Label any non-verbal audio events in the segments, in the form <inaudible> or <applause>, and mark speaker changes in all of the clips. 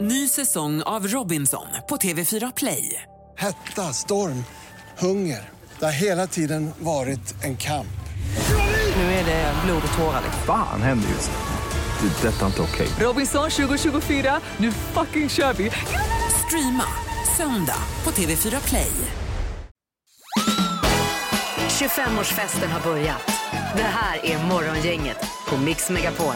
Speaker 1: Ny säsong av Robinson på TV4 Play.
Speaker 2: Hetta, storm, hunger. Det har hela tiden varit en kamp.
Speaker 1: Nu är det blod och tårar.
Speaker 3: Fan händer just nu. Det. är Detta är inte okej.
Speaker 1: Robinson 2024, nu fucking kör vi! Streama söndag på TV4 Play.
Speaker 4: 25-årsfesten har börjat. Det här är Morgongänget på Mix Megapol.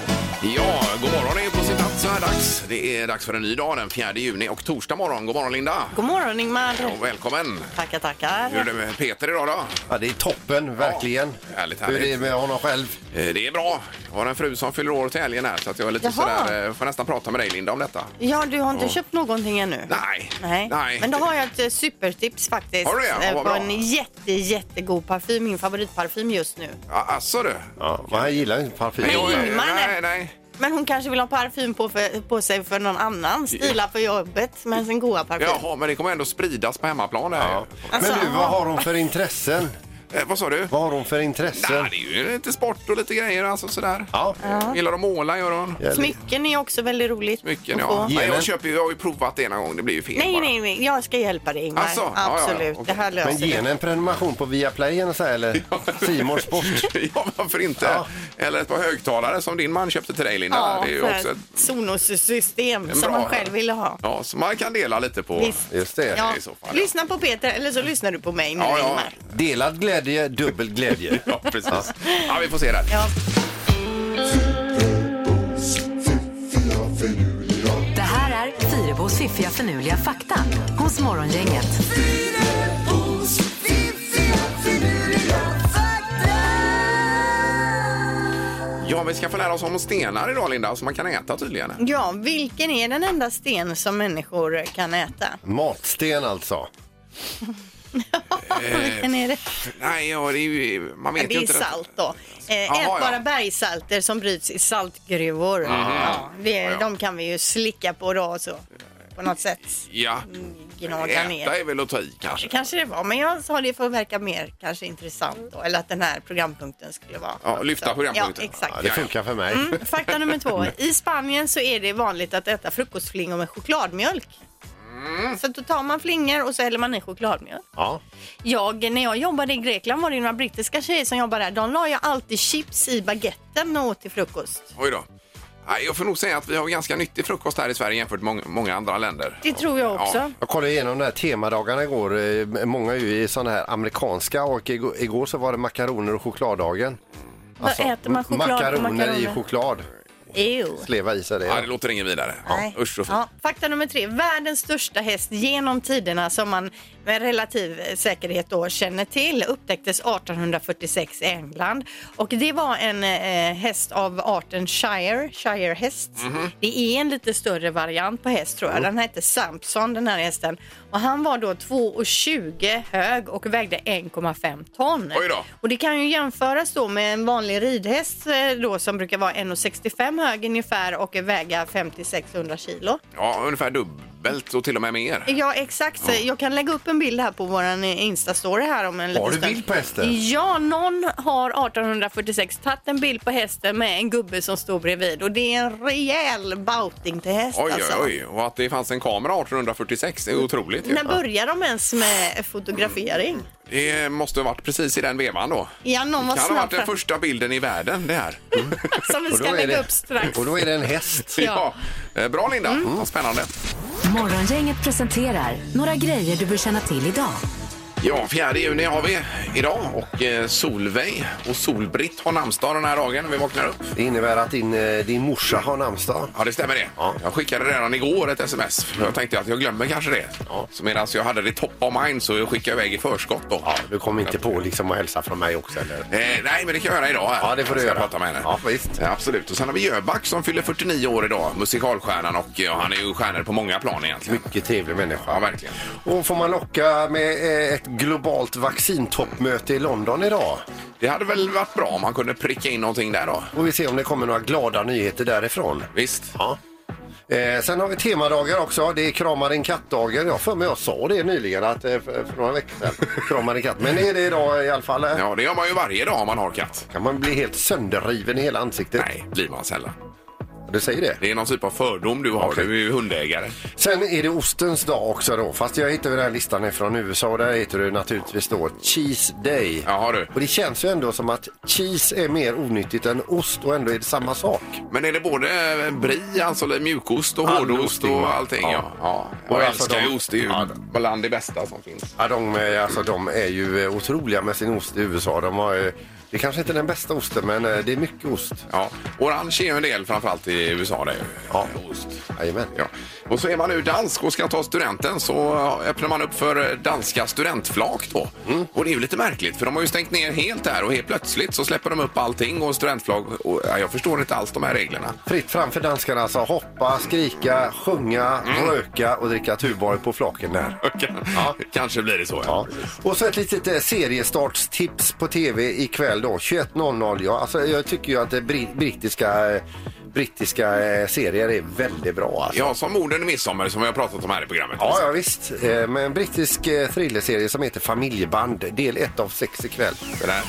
Speaker 5: Ja, god morgon är på sin plats så här dags. Det är dags för en ny dag den 4 juni och torsdag morgon. God morgon Linda!
Speaker 6: God morgon Ingmar.
Speaker 5: Och välkommen!
Speaker 6: Tackar,
Speaker 5: Hur är
Speaker 6: tackar.
Speaker 5: det med Peter idag då? Eh,
Speaker 7: Ja, det är toppen, verkligen.
Speaker 5: härligt,
Speaker 7: Hur är
Speaker 5: härligt.
Speaker 7: det med honom själv?
Speaker 5: Eh, Det är bra. Jag har en fru som fyller år till helgen här så att jag är lite
Speaker 6: Jaha.
Speaker 5: sådär, eh, får nästan prata med dig Linda om detta.
Speaker 6: Ja, du har inte köpt någonting ännu?
Speaker 5: Nej.
Speaker 6: Nej.
Speaker 5: Nej.
Speaker 6: Men då har jag ett eh, supertips faktiskt.
Speaker 5: Har du det? Ja,
Speaker 6: Eh,
Speaker 5: vad
Speaker 6: på
Speaker 5: bra.
Speaker 6: en jätte, jättegod parfym. Min favoritparfym just nu.
Speaker 5: Ja, Ah, Asså du?
Speaker 7: Ja, men han gillar inte parfym.
Speaker 6: Men
Speaker 5: Jag-
Speaker 6: Ingmar,
Speaker 5: nej,
Speaker 6: nej.
Speaker 5: nej.
Speaker 6: Men hon kanske vill ha parfym på, för, på sig för någon annan. Stila för jobbet med sin goda parfym.
Speaker 5: Jaha, men det kommer ändå spridas på hemmaplan det här.
Speaker 7: Ja.
Speaker 6: Alltså,
Speaker 7: Men du, vad har hon för intressen?
Speaker 5: Eh, vad sa du?
Speaker 7: Vad har hon för intressen?
Speaker 5: Nej, det är ju lite sport och lite grejer alltså sådär.
Speaker 7: Ja.
Speaker 5: Eh, Gillar att måla gör hon.
Speaker 7: Jävligt.
Speaker 6: Smycken är också väldigt roligt.
Speaker 5: Smycken
Speaker 6: att
Speaker 5: ja.
Speaker 6: få.
Speaker 5: Nej,
Speaker 7: Genen.
Speaker 5: jag, köper, ju- jag har ju provat det en gång, det blir ju fel
Speaker 6: Nej,
Speaker 5: bara.
Speaker 6: nej, nej. Jag ska hjälpa dig Ingmar.
Speaker 5: Alltså, ja, ja, ja.
Speaker 6: Absolut. Det här löser
Speaker 7: Men ge
Speaker 6: du.
Speaker 7: henne en prenumeration på Viaplay eller så här, eller Simor Sport.
Speaker 5: <laughs> ja, varför inte?
Speaker 7: Ja.
Speaker 5: Eller ett par högtalare som din man köpte till dig, Linda.
Speaker 6: Ja,
Speaker 5: det är ju
Speaker 6: för
Speaker 5: också ett...
Speaker 6: ett Sonos-system
Speaker 5: En
Speaker 6: som
Speaker 5: bra-
Speaker 6: man själv ville ha.
Speaker 5: Ja, så man kan dela lite på.
Speaker 6: Visst.
Speaker 7: Just det.
Speaker 6: Ja.
Speaker 5: i så fall, ja.
Speaker 6: Lyssna på Peter eller så lyssnar du på mig nu
Speaker 5: Ja, ja.
Speaker 6: Ingmar.
Speaker 7: Delad glädje, dubbel glädje.
Speaker 5: <laughs> Ja, precis. Ja, vi får se där.
Speaker 6: Ja.
Speaker 4: Det här är Fyrabos fiffiga förnuliga fakta hos Morgongänget.
Speaker 5: Ja, vi ska få lära oss om stenar idag, Linda, som man kan äta tydligen.
Speaker 6: ja, vilken är den enda sten som människor kan äta?
Speaker 7: Matsten alltså.
Speaker 6: vilken är det?
Speaker 5: Nej, ja, det är ju... Man vet
Speaker 6: Det
Speaker 5: ju
Speaker 6: är
Speaker 5: inte.
Speaker 6: salt då. Eh,
Speaker 5: Jaha, ja.
Speaker 6: ätbara bergssalter som bryts i saltgruvor. Ja, det,
Speaker 5: Ja, ja.
Speaker 6: De kan vi ju slicka på då och så. På något sätt.
Speaker 5: Ja.
Speaker 6: Gnaga
Speaker 5: Äta
Speaker 6: Mm, ner.
Speaker 5: är väl att ta i, kanske.
Speaker 6: Det kanske det var, men jag sa det för att verka mer kanske intressant då, eller att den här programpunkten skulle vara.
Speaker 5: Ja, lyfta programpunkten.
Speaker 6: Ja, exakt.
Speaker 7: Ja, det funkar för mig.
Speaker 6: Mm, fakta nummer två. I Spanien så är det vanligt att äta frukostflingor med chokladmjölk.
Speaker 5: Mm.
Speaker 6: Så då tar man flingor och så häller man i chokladmjölk.
Speaker 7: Ja.
Speaker 6: Jag, när jag jobbade i Grekland var det några brittiska tjejer som jobbade där. De la ju alltid chips i baguetten och åt till frukost.
Speaker 5: Oj då. Nej, jag får nog säga att vi har ganska nyttig frukost här i Sverige jämfört med många, många andra länder.
Speaker 6: Det tror jag också.
Speaker 5: Ja.
Speaker 7: Jag kollade igenom de här temadagarna igår. Eh, Många är ju i sådana här amerikanska och igår igår så var det makaroner och chokladdagen.
Speaker 6: Vad
Speaker 5: alltså,
Speaker 6: äter man choklad och
Speaker 7: makaroner, i
Speaker 6: makaroner?
Speaker 7: choklad.
Speaker 6: Ew.
Speaker 7: Sleva i sig det.
Speaker 5: Ja, det låter inget vidare.
Speaker 6: Nej.
Speaker 5: Ja, usch och fy.
Speaker 6: Ja, fakta nummer tre. Världens största häst genom tiderna som man med relativ eh, säkerhet då känner till upptäcktes 1846 i England. Och det var en eh, häst av arten shire, shirehäst.
Speaker 5: Mhm.
Speaker 6: Det är en lite större variant på häst tror jag.
Speaker 5: Mm.
Speaker 6: Den hette Samson den här hästen. Och han var då 2,20 hög och vägde 1,5 ton.
Speaker 5: Oj då.
Speaker 6: Och det kan ju jämföras då med en vanlig ridhäst eh, då som brukar vara 1,65 hög ungefär och väga 50-600 kilo.
Speaker 5: Ja, ungefär dubbelt och till och med mer.
Speaker 6: Ja exakt, Så jag kan lägga upp en bild här på våran eh, Insta-story här om en liten
Speaker 7: Har du
Speaker 6: stund.
Speaker 7: bild på hästen?
Speaker 6: Ja, någon har 1846 tagit en bild på hästen med en gubbe som står bredvid och det är en rejäl bouting till häst
Speaker 5: Oj, oj,
Speaker 6: alltså. Mm.
Speaker 5: oj. Och att det fanns en kamera 1846 är otroligt. ju.
Speaker 6: När börjar de ens med
Speaker 7: <laughs>
Speaker 6: fotografering?
Speaker 5: Det måste ha varit precis i den vevan då.
Speaker 6: Ja, någon var Mm.
Speaker 5: kan ha
Speaker 6: snabb
Speaker 5: varit den
Speaker 6: fram-
Speaker 5: första bilden i världen det här. <laughs>
Speaker 6: som vi
Speaker 7: Och då
Speaker 6: ska
Speaker 7: är
Speaker 6: lägga
Speaker 7: det-
Speaker 6: upp strax.
Speaker 7: Och då är det en häst.
Speaker 5: Ja. Eh, Bra Linda,
Speaker 6: Mm.
Speaker 5: vad spännande.
Speaker 4: Morgongänget presenterar några grejer du bör känna till idag.
Speaker 5: Ja, 4 juni har vi idag och eh, Solveig och Solbritt har namnsdag den här dagen när vi vaknar upp.
Speaker 7: Det innebär att din, eh, din morsa har namnsdag.
Speaker 5: Ja, det stämmer det.
Speaker 7: Ja.
Speaker 5: Jag skickade redan igår ett sms. för Jag tänkte att jag glömmer kanske det.
Speaker 7: Ja.
Speaker 5: Så medan jag hade det top of mind så skickade jag iväg i förskott då.
Speaker 7: Du kommer inte på liksom att hälsa från mig också eller?
Speaker 5: Eh, nej, men det kan jag göra idag. här.
Speaker 7: Ja, det får du
Speaker 5: jag ska
Speaker 7: göra.
Speaker 5: prata med henne.
Speaker 7: Ja, visst.
Speaker 5: Eh, absolut. Och sen har vi Jöback som fyller 49 år idag, musikalstjärnan. Och ja, han är ju stjärnor på många plan egentligen.
Speaker 7: Mycket trevlig människa.
Speaker 5: Ja, verkligen.
Speaker 7: Och får man locka med eh, ett globalt vaccintoppmöte i London idag?
Speaker 5: Det hade väl varit bra om han kunde pricka in någonting där då.
Speaker 7: Och vi ser om det kommer några glada nyheter därifrån.
Speaker 5: Visst?
Speaker 7: Ja. Eh, sen har vi temadagar också. Det är krama din katt-dagen. Jag för mig jag sa det nyligen att, eh, för, för några veckor sedan. krama din katt. Men det är det idag i alla fall. eh.
Speaker 5: Ja, det gör man ju varje dag om man har katt.
Speaker 7: Kan man bli helt sönderriven i hela ansiktet?
Speaker 5: Nej, blir man sällan.
Speaker 7: Du säger det?
Speaker 5: Det är någon typ av fördom du har.
Speaker 7: Okej.
Speaker 5: Du är ju hundägare.
Speaker 7: Sen är det ostens dag också då. Fast jag hittade den här listan från USA och där heter det naturligtvis då Cheese Day.
Speaker 5: Jaha, du.
Speaker 7: Och det känns ju ändå som att cheese är mer onyttigt än ost och ändå är det samma sak.
Speaker 5: Men är det både eh, bri, alltså mjukost och
Speaker 7: All
Speaker 5: hårdost
Speaker 7: osting,
Speaker 5: och
Speaker 7: va?
Speaker 5: allting? Ja.
Speaker 7: Ja.
Speaker 5: ja.
Speaker 7: Och
Speaker 5: Jag
Speaker 7: alltså
Speaker 5: älskar
Speaker 7: de-
Speaker 5: ju ost. Det är ju
Speaker 7: Ja.
Speaker 5: bland det bästa som finns.
Speaker 7: Ja, de, eh, alltså, de är ju eh, otroliga med sin ost i USA. De har, eh, det är kanske inte är den bästa osten men eh, det är mycket ost.
Speaker 5: Ja. Orange är ju en del framförallt i USA. Det är ju
Speaker 7: Ja.
Speaker 5: ost.
Speaker 7: Jajamän.
Speaker 5: Ja. Och så är man nu dansk och ska ta studenten så öppnar man upp för danska studentflak då.
Speaker 7: Mm.
Speaker 5: Och det är ju lite märkligt för de har ju stängt ner helt där och helt plötsligt så släpper de upp allting och studentflak. Och, ja, jag förstår inte alls de här reglerna.
Speaker 7: Fritt fram för danskarna alltså. Hoppa, skrika, sjunga, röka och dricka Tuborg på flaken där. Ja.
Speaker 5: Kanske blir det så.
Speaker 7: Ja. Och så ett litet eh, seriestartstips på tv ikväll då. 21.00. Ja, alltså, jag tycker ju att eh, bri- brittiska, eh, brittiska eh, serier är väldigt bra. Alltså.
Speaker 5: Ja, som morden i midsommar som vi har pratat om här i programmet.
Speaker 7: Ja, ja visst. Eh, Men en brittisk eh, thrillerserie som heter Familjeband. Del 1 av 6 ikväll.
Speaker 5: Det där.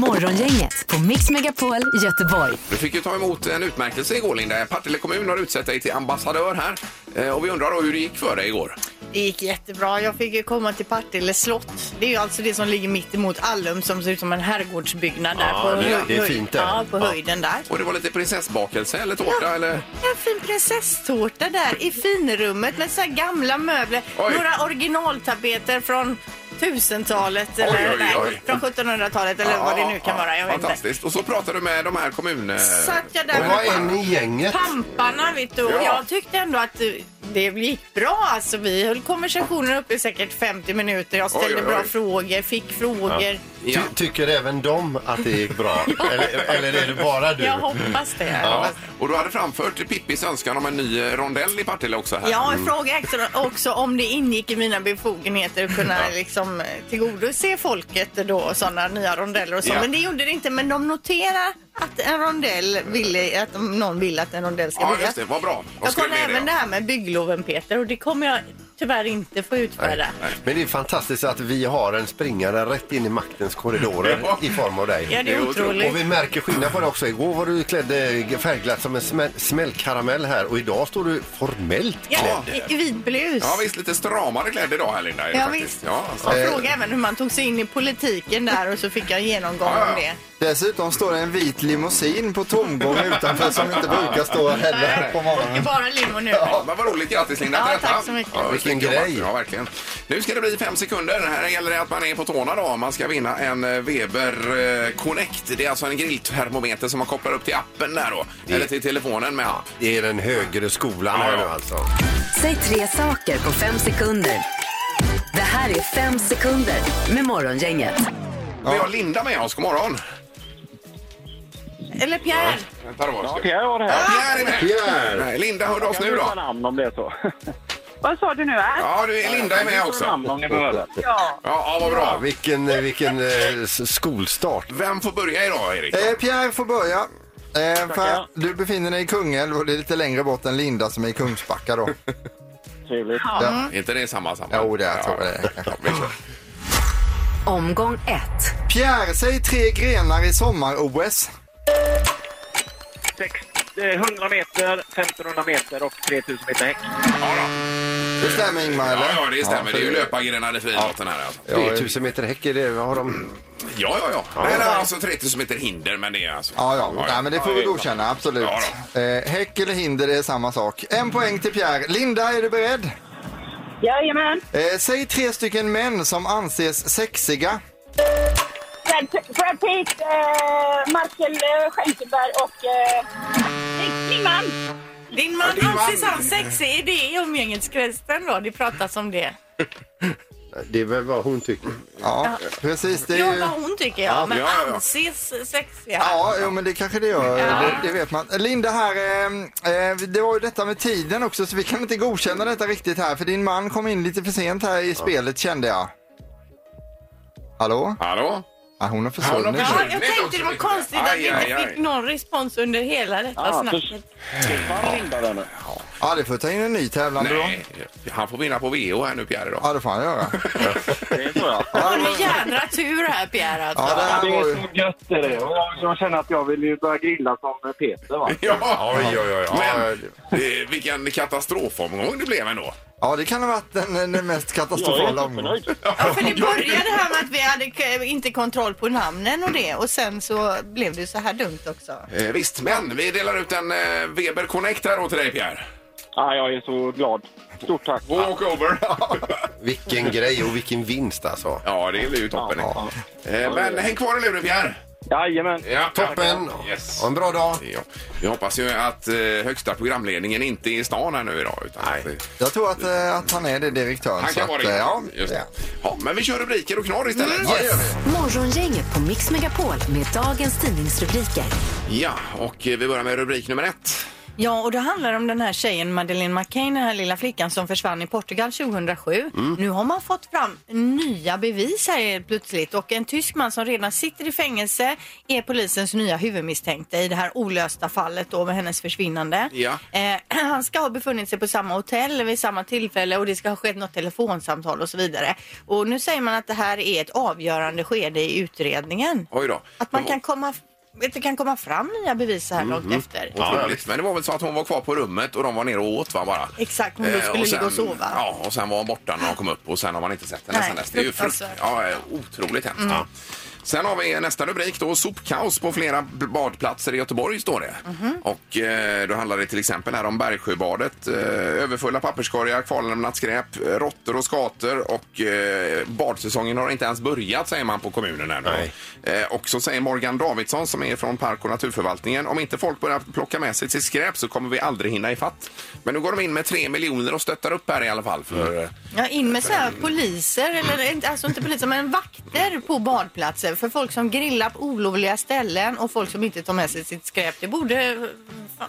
Speaker 4: Morgongänget på Mix Megapol Göteborg.
Speaker 5: Du fick ju ta emot en utmärkelse igår Linda. Partille kommun har utsett dig till ambassadör här. Eh, Och vi undrar då hur det gick för dig igår.
Speaker 6: Det gick jättebra. Jag fick ju komma till Partille slott. Det är ju alltså det som ligger mitt emot Allum som ser ut som en herrgårdsbyggnad där.
Speaker 7: Ja,
Speaker 6: på
Speaker 7: det är-
Speaker 6: hö-
Speaker 7: det är
Speaker 6: höj-
Speaker 7: fint där.
Speaker 6: Ja, på
Speaker 7: Ja.
Speaker 6: höjden där.
Speaker 5: Och det var lite prinsessbakelse eller tårta eller?
Speaker 6: En fin prinsesstårta där i finrummet med så här gamla möbler.
Speaker 5: Oj.
Speaker 6: Några originaltapeter från 1000-talet eller
Speaker 5: oj,
Speaker 6: nej,
Speaker 5: oj.
Speaker 6: från 1700-talet eller vad det nu kan vara. Jag vet inte.
Speaker 5: Fantastiskt. Och så pratade du med de här kommun... eh,
Speaker 6: Satt jag där
Speaker 7: Och vad
Speaker 6: med
Speaker 7: är ni i gänget?
Speaker 6: pamparna vet du och
Speaker 5: Ja.
Speaker 6: jag tyckte ändå att eh, det gick bra. Alltså, vi höll konversationen uppe i säkert 50 minuter. Jag ställde
Speaker 5: Oj, oj, oj.
Speaker 6: bra frågor, fick frågor.
Speaker 5: Ja.
Speaker 7: Ty- tycker även de att det gick bra? eller, eller är det bara du?
Speaker 6: Jag hoppas det. Jag
Speaker 5: Ja.
Speaker 6: hoppas-
Speaker 5: Och du hade framfört Pippis önskan om en ny eh, rondell i Partille också här.
Speaker 6: Ja, en fråga också, också om det ingick i mina befogenheter att kunna liksom, eh, tillgodose folket då, sådana nya rondeller och så.
Speaker 5: Ja.
Speaker 6: Men det gjorde det inte. Men de noterar att en rondell ville, att om någon vill att en rondell ska
Speaker 5: Ja,
Speaker 6: byggas.
Speaker 5: just det. Vad bra. De
Speaker 6: Jag
Speaker 5: skrev
Speaker 6: kollade
Speaker 5: ner det,
Speaker 6: även det
Speaker 5: ja.
Speaker 6: här med byggloven Peter och det kommer jag tyvärr inte få utföra.
Speaker 7: Men det är fantastiskt att vi har en springare rätt in i maktens korridorer
Speaker 5: Ja.
Speaker 7: i form av dig.
Speaker 6: Ja, det
Speaker 5: Det är
Speaker 6: är
Speaker 5: otroligt.
Speaker 6: otroligt.
Speaker 7: Och vi märker skillnad på det också. Igår var du klädd eh, färgglatt som en smäll, smällkaramell här och idag står du formellt klädd.
Speaker 6: Ja, i- i vit blus.
Speaker 5: Ja, visst. Lite stramare klädd idag här Linda. är det
Speaker 6: Ja,
Speaker 5: faktiskt.
Speaker 6: visst.
Speaker 5: Ja, alltså.
Speaker 6: Jag frågade även hur man tog sig in i politiken där och så fick jag en genomgång
Speaker 5: Ja, ja.
Speaker 6: om det.
Speaker 8: Dessutom står det en vit limousin på tomgång utanför som inte brukar stå heller på
Speaker 6: Det är
Speaker 8: morgonen.
Speaker 6: bara limo nu.
Speaker 5: Ja, men vad roligt. Grattis Linda
Speaker 6: Ja,
Speaker 5: till detta.
Speaker 6: tack så mycket.
Speaker 7: Vilken
Speaker 5: snyggt jobbat.
Speaker 7: grej.
Speaker 5: Ja, verkligen. Nu ska det bli fem sekunder. Här gäller det att man är på tårna då. Man ska vinna en eh, Weber eh, Connect. Det är alltså en grilltermometer som man kopplar upp till appen där då. Eller till telefonen med app.
Speaker 7: Det är den högre skolan här
Speaker 5: Ja,
Speaker 7: nu
Speaker 5: ja.
Speaker 7: alltså.
Speaker 4: Säg tre saker på fem sekunder. Det här är fem sekunder med Morgongänget.
Speaker 5: Vi har Linda med oss. God morgon.
Speaker 6: Eller Pierre.
Speaker 5: Vänta då. Ska...
Speaker 9: Pierre var det här.
Speaker 5: Pierre är med.
Speaker 7: Pierre!
Speaker 5: Nej, Linda, hör du oss
Speaker 9: Kan
Speaker 5: nu
Speaker 9: du ta
Speaker 5: då?
Speaker 9: namn om det är så? <laughs> Vad sa du nu? Äh?
Speaker 5: Ja, du, Linda är med också. Ja,
Speaker 9: namn om ni behöver.
Speaker 5: ja vad
Speaker 7: Ja,
Speaker 5: bra.
Speaker 7: vilken eh, vilken eh, s- skolstart.
Speaker 5: Vem får börja idag, Erik?
Speaker 8: Eh, Pierre får börja. Eh,
Speaker 9: Tackar.
Speaker 8: för du befinner dig i Kungälv och det är lite längre bort än Linda som är i Kungsbacka då.
Speaker 9: Trevligt.
Speaker 5: Är inte det samma? samma?
Speaker 8: Jo, det är- jag tror det är.
Speaker 5: Ja, vi kör.
Speaker 4: Omgång ett.
Speaker 8: Pierre, säg tre grenar i sommar-OS.
Speaker 9: Sex, eh, 100 meter, 1500 meter och 3000 meter häck.
Speaker 8: Det stämmer Ingmar eller?
Speaker 5: Ja, ja, det stämmer.
Speaker 8: för
Speaker 5: Det är ju löpargrenadefilåten här. Alltså.
Speaker 7: 3000 meter häck, är det, har de...
Speaker 5: Ja, ja, ja. Nej, nej, alltså 3000 meter hinder, men det är alltså...
Speaker 8: Ja, ja. Nej, men det får vi godkänna, absolut.
Speaker 5: Ja,
Speaker 8: Eh, häck eller hinder, det är samma sak. En poäng till Pierre. Linda, är du beredd?
Speaker 10: Jajamän.
Speaker 8: Eh, säg tre stycken män som anses sexiga.
Speaker 10: Brad, Brad Pitt, eh, Marcel eh, Schenkenberg och... Eh, Nick Kidman.
Speaker 6: Din man anses han sexig? Är det i umgängeskristen då? Det pratas om det.
Speaker 7: Det är väl vad hon tycker.
Speaker 8: Ja, precis. Det är
Speaker 6: Jo,
Speaker 8: ju...
Speaker 6: vad hon tycker jag. Men
Speaker 5: ja, ja.
Speaker 6: anses sexiga?
Speaker 8: Ja, jo, men det kanske det gör. Det, det vet man. Linda här, eh, eh, det var ju detta med tiden också så vi kan inte godkänna detta riktigt här för din man kom in lite för sent här i spelet kände jag. Hallå?
Speaker 5: Hallå?
Speaker 8: Ja, hon har
Speaker 5: Ja, hon har
Speaker 8: försvunnit.
Speaker 6: Ja,
Speaker 5: försvunnit
Speaker 6: jag tänkte det var
Speaker 5: också.
Speaker 6: konstigt att vi
Speaker 5: Aj,
Speaker 6: inte
Speaker 5: aj,
Speaker 6: fick
Speaker 5: aj.
Speaker 6: någon respons under hela detta
Speaker 9: Ah,
Speaker 6: snacket.
Speaker 9: förs- försvann Linda där nu?
Speaker 8: Ja, det får ta in en ny tävlande då.
Speaker 5: Nej, han får vinna på VO här nu Pierre idag.
Speaker 8: Ja, det får han göra.
Speaker 9: Det är så, ja.
Speaker 6: Har du jädra tur här Pierre alltså.
Speaker 8: Ja, det här
Speaker 9: Det är
Speaker 8: var ju...
Speaker 9: så gött är det. Och jag, jag känner att jag vill ju börja grilla som Peter. Va?
Speaker 5: <laughs> Ja,
Speaker 7: Oj, oj, oj.
Speaker 5: Men
Speaker 7: Ja,
Speaker 5: eh, vilken katastrofomgång det blev ändå.
Speaker 8: Ja, det kan ha varit den, den mest katastrofala omgången.
Speaker 6: Ja, för det började här med att vi hade k- inte kontroll på namnen och det och sen så blev det så här dumt också.
Speaker 5: Eh, visst, men vi delar ut en eh, Weber Connect här då till dig Pierre.
Speaker 9: Ja, jag är så glad. Stort tack.
Speaker 5: Walkover.
Speaker 7: Vilken grej och vilken vinst alltså.
Speaker 5: <laughs> ja, det blir ju toppen.
Speaker 7: Ja,
Speaker 5: Eh, men häng kvar i luren Pierre.
Speaker 9: Jajamän.
Speaker 5: Ja,
Speaker 7: Toppen!
Speaker 5: Yes.
Speaker 7: Ha en bra dag.
Speaker 5: Ja, vi hoppas ju att eh, högsta programledningen inte är i stan här nu idag. Utan att, eh,
Speaker 8: Jag tror att, eh, att han är det direktören.
Speaker 5: han
Speaker 8: så
Speaker 5: kan
Speaker 8: att,
Speaker 5: vara
Speaker 8: eh,
Speaker 5: det.
Speaker 8: ja,
Speaker 5: Just det.
Speaker 8: ja.
Speaker 5: Ja, men vi kör rubriker och knorr istället. Ja, det gör vi.
Speaker 4: Yes. Morgongänget på Mix Megapol med dagens tidningsrubriker.
Speaker 5: Ja, och eh, vi börjar med rubrik nummer ett.
Speaker 6: Ja, och då handlar det om den här tjejen Madeleine McCain, den här lilla flickan som försvann i Portugal 2007.
Speaker 5: Mm.
Speaker 6: Nu har man fått fram nya bevis här helt plötsligt och en tysk man som redan sitter i fängelse är polisens nya huvudmisstänkte i det här olösta fallet då med hennes försvinnande.
Speaker 5: Ja.
Speaker 6: Eh, <clears throat> han ska ha befunnit sig på samma hotell vid samma tillfälle och det ska ha skett något telefonsamtal och så vidare. Och nu säger man att det här är ett avgörande skede i utredningen.
Speaker 5: Oj då.
Speaker 6: Att man kan komma, att det kan komma fram nya bevis så här långt
Speaker 5: Mhm.
Speaker 6: efter.
Speaker 5: Otroligt. Men det var väl så att hon var kvar på rummet och de var nere och åt va, bara?
Speaker 6: Exakt, hon då
Speaker 5: Eh,
Speaker 6: skulle ligga och sova.
Speaker 5: Ja, och sen var hon borta när hon kom upp och sen har man inte sett henne
Speaker 6: Nej,
Speaker 5: sen dess. Det är ju frukt,
Speaker 6: fruktansvärt.
Speaker 5: ja, eh, otroligt hemskt. Ja. Sen har vi nästa rubrik då, sopkaos på flera b- badplatser i Göteborg står det. Och eh, då handlar det till exempel här om Bergsjöbadet. Eh, överfulla papperskorgar, kvarlämnat skräp, eh, råttor och skator och eh, badsäsongen har inte ens börjat säger man på kommunen här nu.
Speaker 7: Nej.
Speaker 5: Eh, Och så säger Morgan Davidsson som är från Park och naturförvaltningen. Om inte folk börjar plocka med sig sitt skräp så kommer vi aldrig hinna ifatt. Men nu går de in med 3 miljoner och stöttar upp här i alla fall. För, eh,
Speaker 6: Ja, in med så här poliser, eller inte- alltså inte poliser men vakter på badplatser för folk som grillar på olovliga ställen och folk som inte tar med sig sitt skräp. Det borde eh, fan,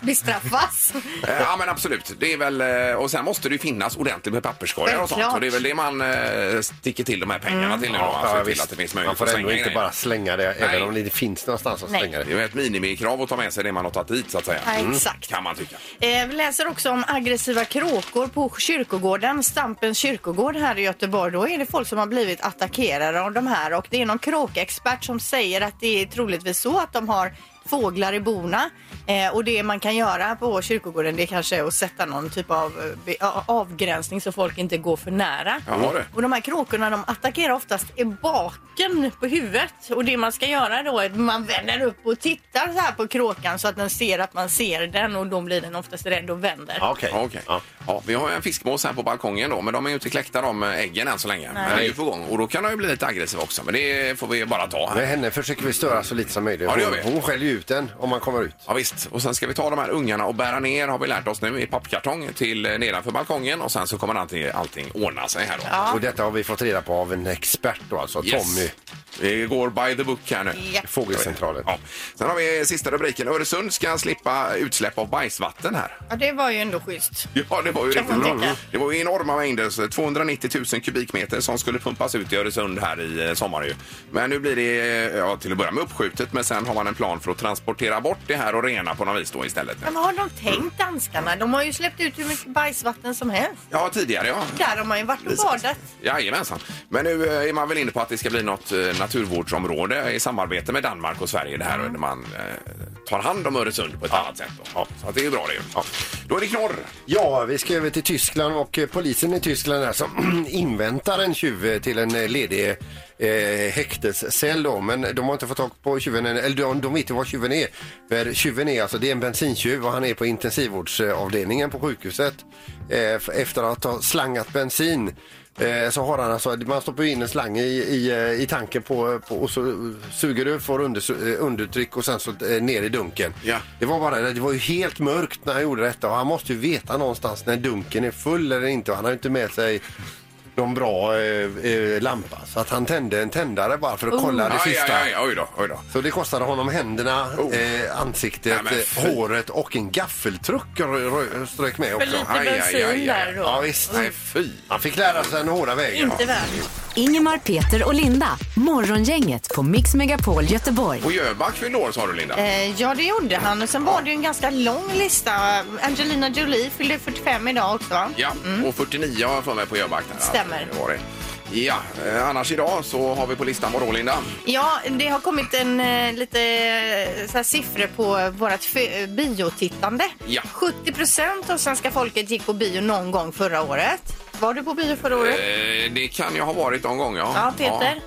Speaker 6: bestraffas.
Speaker 5: eh, ja men absolut. Det är väl, eh, och sen måste det ju finnas ordentligt med papperskorgar och sånt.
Speaker 6: Självklart.
Speaker 5: Och det är väl det man eh, sticker till de här pengarna till nu då.
Speaker 7: Mm. Ja,
Speaker 5: alltså,
Speaker 7: ja,
Speaker 5: till
Speaker 7: visst.
Speaker 5: att det finns
Speaker 7: Man
Speaker 5: möjlighet
Speaker 7: får
Speaker 5: att
Speaker 7: ändå
Speaker 5: slänga
Speaker 7: inte
Speaker 5: grejer.
Speaker 7: bara slänga det,
Speaker 5: Nej.
Speaker 7: även om det inte finns någonstans att
Speaker 6: Nej.
Speaker 7: slänga
Speaker 5: Det
Speaker 7: det.
Speaker 5: är ju ett minimikrav att ta med sig det man har tagit hit så att säga. Mm.
Speaker 6: Ja, exakt.
Speaker 5: Kan man tycka.
Speaker 6: Eh, vi läser också om aggressiva kråkor på kyrkogården, Stampens kyrkogård här i Göteborg. Då är det folk som har blivit attackerade av de här och det är någon kråkexpert som säger att det är troligtvis så att de har fåglar i bona eh, och det man kan göra på kyrkogården det är kanske att sätta någon typ av eh, be- a- avgränsning så folk inte går för nära.
Speaker 5: Jaha, du.
Speaker 6: Och de här kråkorna de attackerar oftast i baken på huvudet. Och det man ska göra då är att man vänder upp och tittar så här på kråkan så att den ser att man ser den och då blir den oftast rädd och vänder.
Speaker 7: Ja, Okej.
Speaker 5: Ja, okej.
Speaker 7: Ja.
Speaker 5: Ja, vi har ju en fiskmås här på balkongen då, men de är ju inte kläckta de äggen än så länge.
Speaker 6: Nej.
Speaker 5: Men det är ju på gång och då kan de ju bli lite aggressiva också, men det får vi bara ta
Speaker 7: Med
Speaker 5: här.
Speaker 7: henne försöker vi störa så lite som möjligt.
Speaker 5: Ja, det gör
Speaker 7: Hon,
Speaker 5: vi.
Speaker 7: hon skäller ju ut den om man kommer ut.
Speaker 5: Ja, visst. Och sen ska vi ta de här ungarna och bära ner, har vi lärt oss nu, i pappkartong till eh, nedanför balkongen och sen så kommer allting, allting ordna sig här då.
Speaker 7: Och detta har vi fått reda på av en expert då, alltså
Speaker 5: Yes.
Speaker 7: Tommy,
Speaker 5: Vi går by the book här nu.
Speaker 6: Ja.
Speaker 7: Fågelcentralen.
Speaker 5: Ja. Sen har vi sista rubriken. Öresund ska slippa utsläpp av bajsvatten här.
Speaker 6: Ja, det var ju ändå schysst.
Speaker 5: Ja, det var ju
Speaker 6: Kan man
Speaker 5: riktigt bra.
Speaker 6: tycka.
Speaker 5: Det var ju enorma mängder, så 290 000 kubikmeter som skulle pumpas ut i Öresund här i eh, sommar ju. Men nu blir det eh, ja, till att börja med uppskjutet, men sen har man en plan för att transportera bort det här och rena på något vis då istället.
Speaker 6: Men vad har de tänkt danskarna? De har ju släppt ut hur mycket bajsvatten som helst.
Speaker 5: Ja, tidigare ja.
Speaker 6: Där har man ju varit och badat.
Speaker 5: Jajamensan. Men nu eh, är man väl inne på att det ska bli något eh, naturvårdsområde i samarbete med Danmark och Sverige. Det här när man eh, tar hand om Öresund på ett annat sätt. Då. Så att det är ju bra det. ju. Då är det knorr.
Speaker 7: Ja, vi ska över till Tyskland och eh, polisen i Tyskland här som <clears throat> inväntar en tjuv eh, till en eh, ledig eh, häktescell då. Men de har inte fått tag på tjuven, än, eller de, de vet ju vad tjuven är. För tjuven är alltså, det är en bensintjuv och han är på intensivvårdsavdelningen på sjukhuset eh, f- efter att ha slangat bensin. Eh, så har han alltså, man stoppar ju in en slang i, i, eh, i tanken på, på, och så eh, suger du, får under, eh, undertryck och sen så eh, ner i dunken.
Speaker 5: Ja.
Speaker 7: Det var bara det, det var ju helt mörkt när han gjorde detta och han måste ju veta någonstans när dunken är full eller inte. Och Han har ju inte med sig någon bra eh, eh, lampa så att han tände en tändare bara
Speaker 5: Oh.
Speaker 7: för att kolla det
Speaker 5: Aj,
Speaker 7: sista. Mm.
Speaker 5: aj, aj, oj då, oj då.
Speaker 7: Så det kostade honom händerna,
Speaker 5: Oh.
Speaker 7: eh, ansiktet,
Speaker 5: Nej, men fy.
Speaker 7: eh, håret och en gaffeltruck rö- rö- strök med
Speaker 6: För
Speaker 7: också.
Speaker 6: lite bensin där då.
Speaker 7: Ja, visst.
Speaker 5: Nej, fy.
Speaker 7: Han fick lära sig den hårda vägen.
Speaker 6: Inte värt.
Speaker 4: Ingemar, Peter och Linda. Morgongänget på Mix Megapol Göteborg.
Speaker 5: Och Jöback fyllde år sa du Linda.
Speaker 6: Eh, ja, det gjorde han. Och sen var det ju en ganska lång lista. Angelina Jolie fyllde 45 idag också. va?
Speaker 5: Ja, och 49 har jag för mig på Jöback. Där.
Speaker 6: Stämmer.
Speaker 5: Det var det. Ja, eh, annars idag så har vi på listan, vadå Linda?
Speaker 6: Ja, det har kommit en eh, lite eh, så här, siffror på vårt fö- eh, biotittande.
Speaker 5: Ja.
Speaker 6: 70 procent av svenska folket gick på bio någon gång förra året. Var du på bio förra året?
Speaker 5: Eh, det kan jag ha varit någon gång ja.
Speaker 6: Mm. ja, Peter.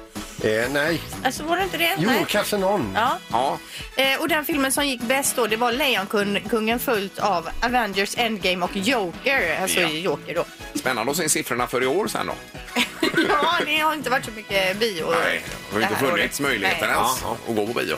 Speaker 11: Eh, nej.
Speaker 6: Alltså var det inte det?
Speaker 11: Jo,
Speaker 6: Nej.
Speaker 11: kanske någon.
Speaker 6: Ja.
Speaker 5: Ja.
Speaker 6: Eh, och den filmen som gick bäst då, det var Lejonkungen följt av Avengers Endgame och Joker. Alltså
Speaker 5: Ja.
Speaker 6: Joker då.
Speaker 5: ja. Spännande att se siffrorna för i år sen då.
Speaker 6: ja, det har inte varit så mycket bio.
Speaker 5: Nej, det har
Speaker 6: det
Speaker 5: ju inte
Speaker 6: här
Speaker 5: funnits
Speaker 6: året.
Speaker 5: möjligheten
Speaker 6: Nej.
Speaker 5: ens att gå på bio.